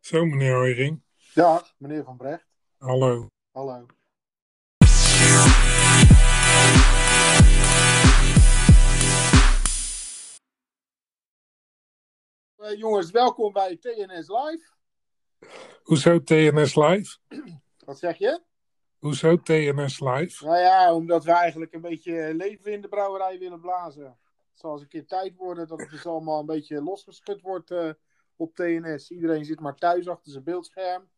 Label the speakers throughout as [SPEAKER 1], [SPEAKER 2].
[SPEAKER 1] Zo, meneer Hooyring.
[SPEAKER 2] Ja, meneer Van Brecht.
[SPEAKER 1] Hallo.
[SPEAKER 2] Hallo. Eh, jongens, welkom bij TNS Live.
[SPEAKER 1] Hoezo TNS Live?
[SPEAKER 2] Wat zeg je?
[SPEAKER 1] Hoezo TNS Live?
[SPEAKER 2] Nou ja, omdat we eigenlijk een beetje leven in de brouwerij willen blazen. Het zal eens een keer tijd worden dat het dus allemaal een beetje losgeschud wordt eh, op TNS. Iedereen zit maar thuis achter zijn beeldscherm.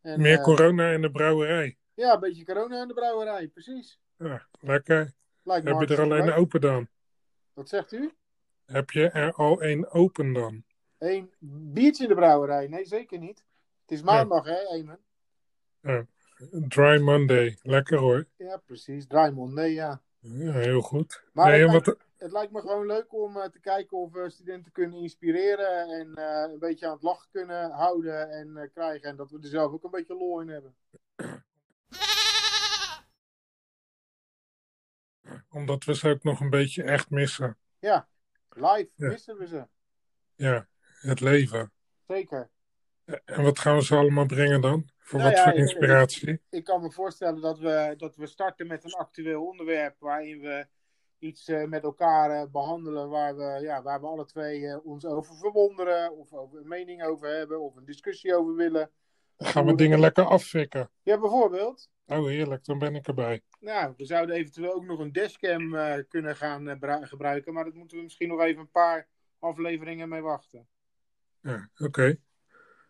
[SPEAKER 2] En,
[SPEAKER 1] Meer
[SPEAKER 2] eh,
[SPEAKER 1] corona in de brouwerij.
[SPEAKER 2] ja, een beetje corona in de brouwerij, precies.
[SPEAKER 1] Ja, lekker.
[SPEAKER 2] Lijkt me
[SPEAKER 1] Heb je er
[SPEAKER 2] hartstikke
[SPEAKER 1] alleen nou-
[SPEAKER 2] leuk.
[SPEAKER 1] open dan?
[SPEAKER 2] Wat zegt u?
[SPEAKER 1] Heb je er al één open dan?
[SPEAKER 2] Eén biertje in de brouwerij? Nee, zeker niet. Het is maandag, hè, Eamon?
[SPEAKER 1] Dry Monday. Lekker hoor.
[SPEAKER 2] Ja, precies. Draaimond, nee, ja.
[SPEAKER 1] Ja, heel goed.
[SPEAKER 2] Maar
[SPEAKER 1] Nee,
[SPEAKER 2] het,
[SPEAKER 1] en
[SPEAKER 2] lijkt,
[SPEAKER 1] wat,
[SPEAKER 2] het lijkt me gewoon leuk om eh, te kijken of we studenten kunnen inspireren en eh, een beetje aan het lachen kunnen houden en eh, krijgen. En dat we er zelf ook een beetje lol in hebben.
[SPEAKER 1] omdat we ze ook nog een beetje echt missen.
[SPEAKER 2] Live
[SPEAKER 1] Ja.
[SPEAKER 2] missen we ze.
[SPEAKER 1] Ja, het leven.
[SPEAKER 2] Zeker.
[SPEAKER 1] En wat gaan we ze allemaal brengen dan? Voor
[SPEAKER 2] Nou
[SPEAKER 1] wat
[SPEAKER 2] ja,
[SPEAKER 1] voor
[SPEAKER 2] ik-
[SPEAKER 1] inspiratie?
[SPEAKER 2] Ik kan me voorstellen dat we, dat we starten met een actueel onderwerp waarin we iets eh, met elkaar eh, behandelen waar we, ja, waar we alle twee eh, ons over verwonderen of over een mening over hebben of een discussie over willen.
[SPEAKER 1] Gaan we dingen lekker afvikken?
[SPEAKER 2] Ja, bijvoorbeeld.
[SPEAKER 1] Oh, heerlijk. Dan ben ik erbij.
[SPEAKER 2] Nou, we zouden eventueel ook nog een dashcam eh, kunnen gaan eh, bru- gebruiken, maar dat moeten we misschien nog even een paar afleveringen mee wachten.
[SPEAKER 1] Ja, oké.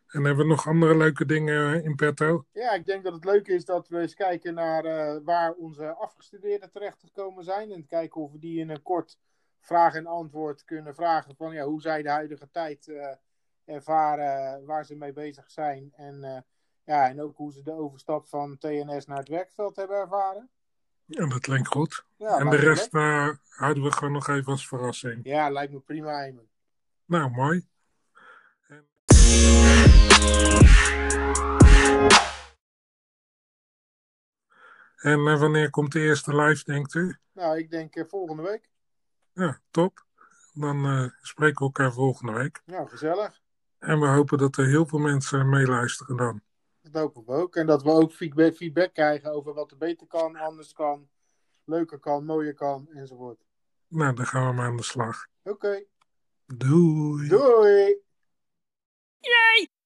[SPEAKER 1] En hebben we nog andere leuke dingen in petto?
[SPEAKER 2] Ja, ik denk dat het leuk is dat we eens kijken naar eh, waar onze afgestudeerden terechtgekomen zijn. En kijken of we die in een kort vraag en antwoord kunnen vragen van ja, hoe zij de huidige tijd eh, ervaren, waar ze mee bezig zijn. En, eh, ja, en ook hoe ze de overstap van TNS naar het werkveld hebben ervaren.
[SPEAKER 1] Ja, dat klinkt goed.
[SPEAKER 2] Ja,
[SPEAKER 1] en de
[SPEAKER 2] lijkt me
[SPEAKER 1] rest eh, houden we gewoon nog even als verrassing.
[SPEAKER 2] leuk. Ja, lijkt me prima, Eamon.
[SPEAKER 1] Nou, mooi. En- En eh, wanneer komt de eerste live, denkt u?
[SPEAKER 2] Nou, ik denk eh, volgende week.
[SPEAKER 1] Ja, top. Dan eh, spreken we elkaar volgende week.
[SPEAKER 2] Nou, gezellig.
[SPEAKER 1] En we hopen dat er heel veel mensen meeluisteren dan.
[SPEAKER 2] Dat hopen we ook. En dat we ook feedback, feedback krijgen over wat er beter kan, anders kan, leuker kan, mooier kan, enzovoort.
[SPEAKER 1] Nou, dan gaan we maar aan de slag.
[SPEAKER 2] Oké,
[SPEAKER 1] Doei.
[SPEAKER 2] doei!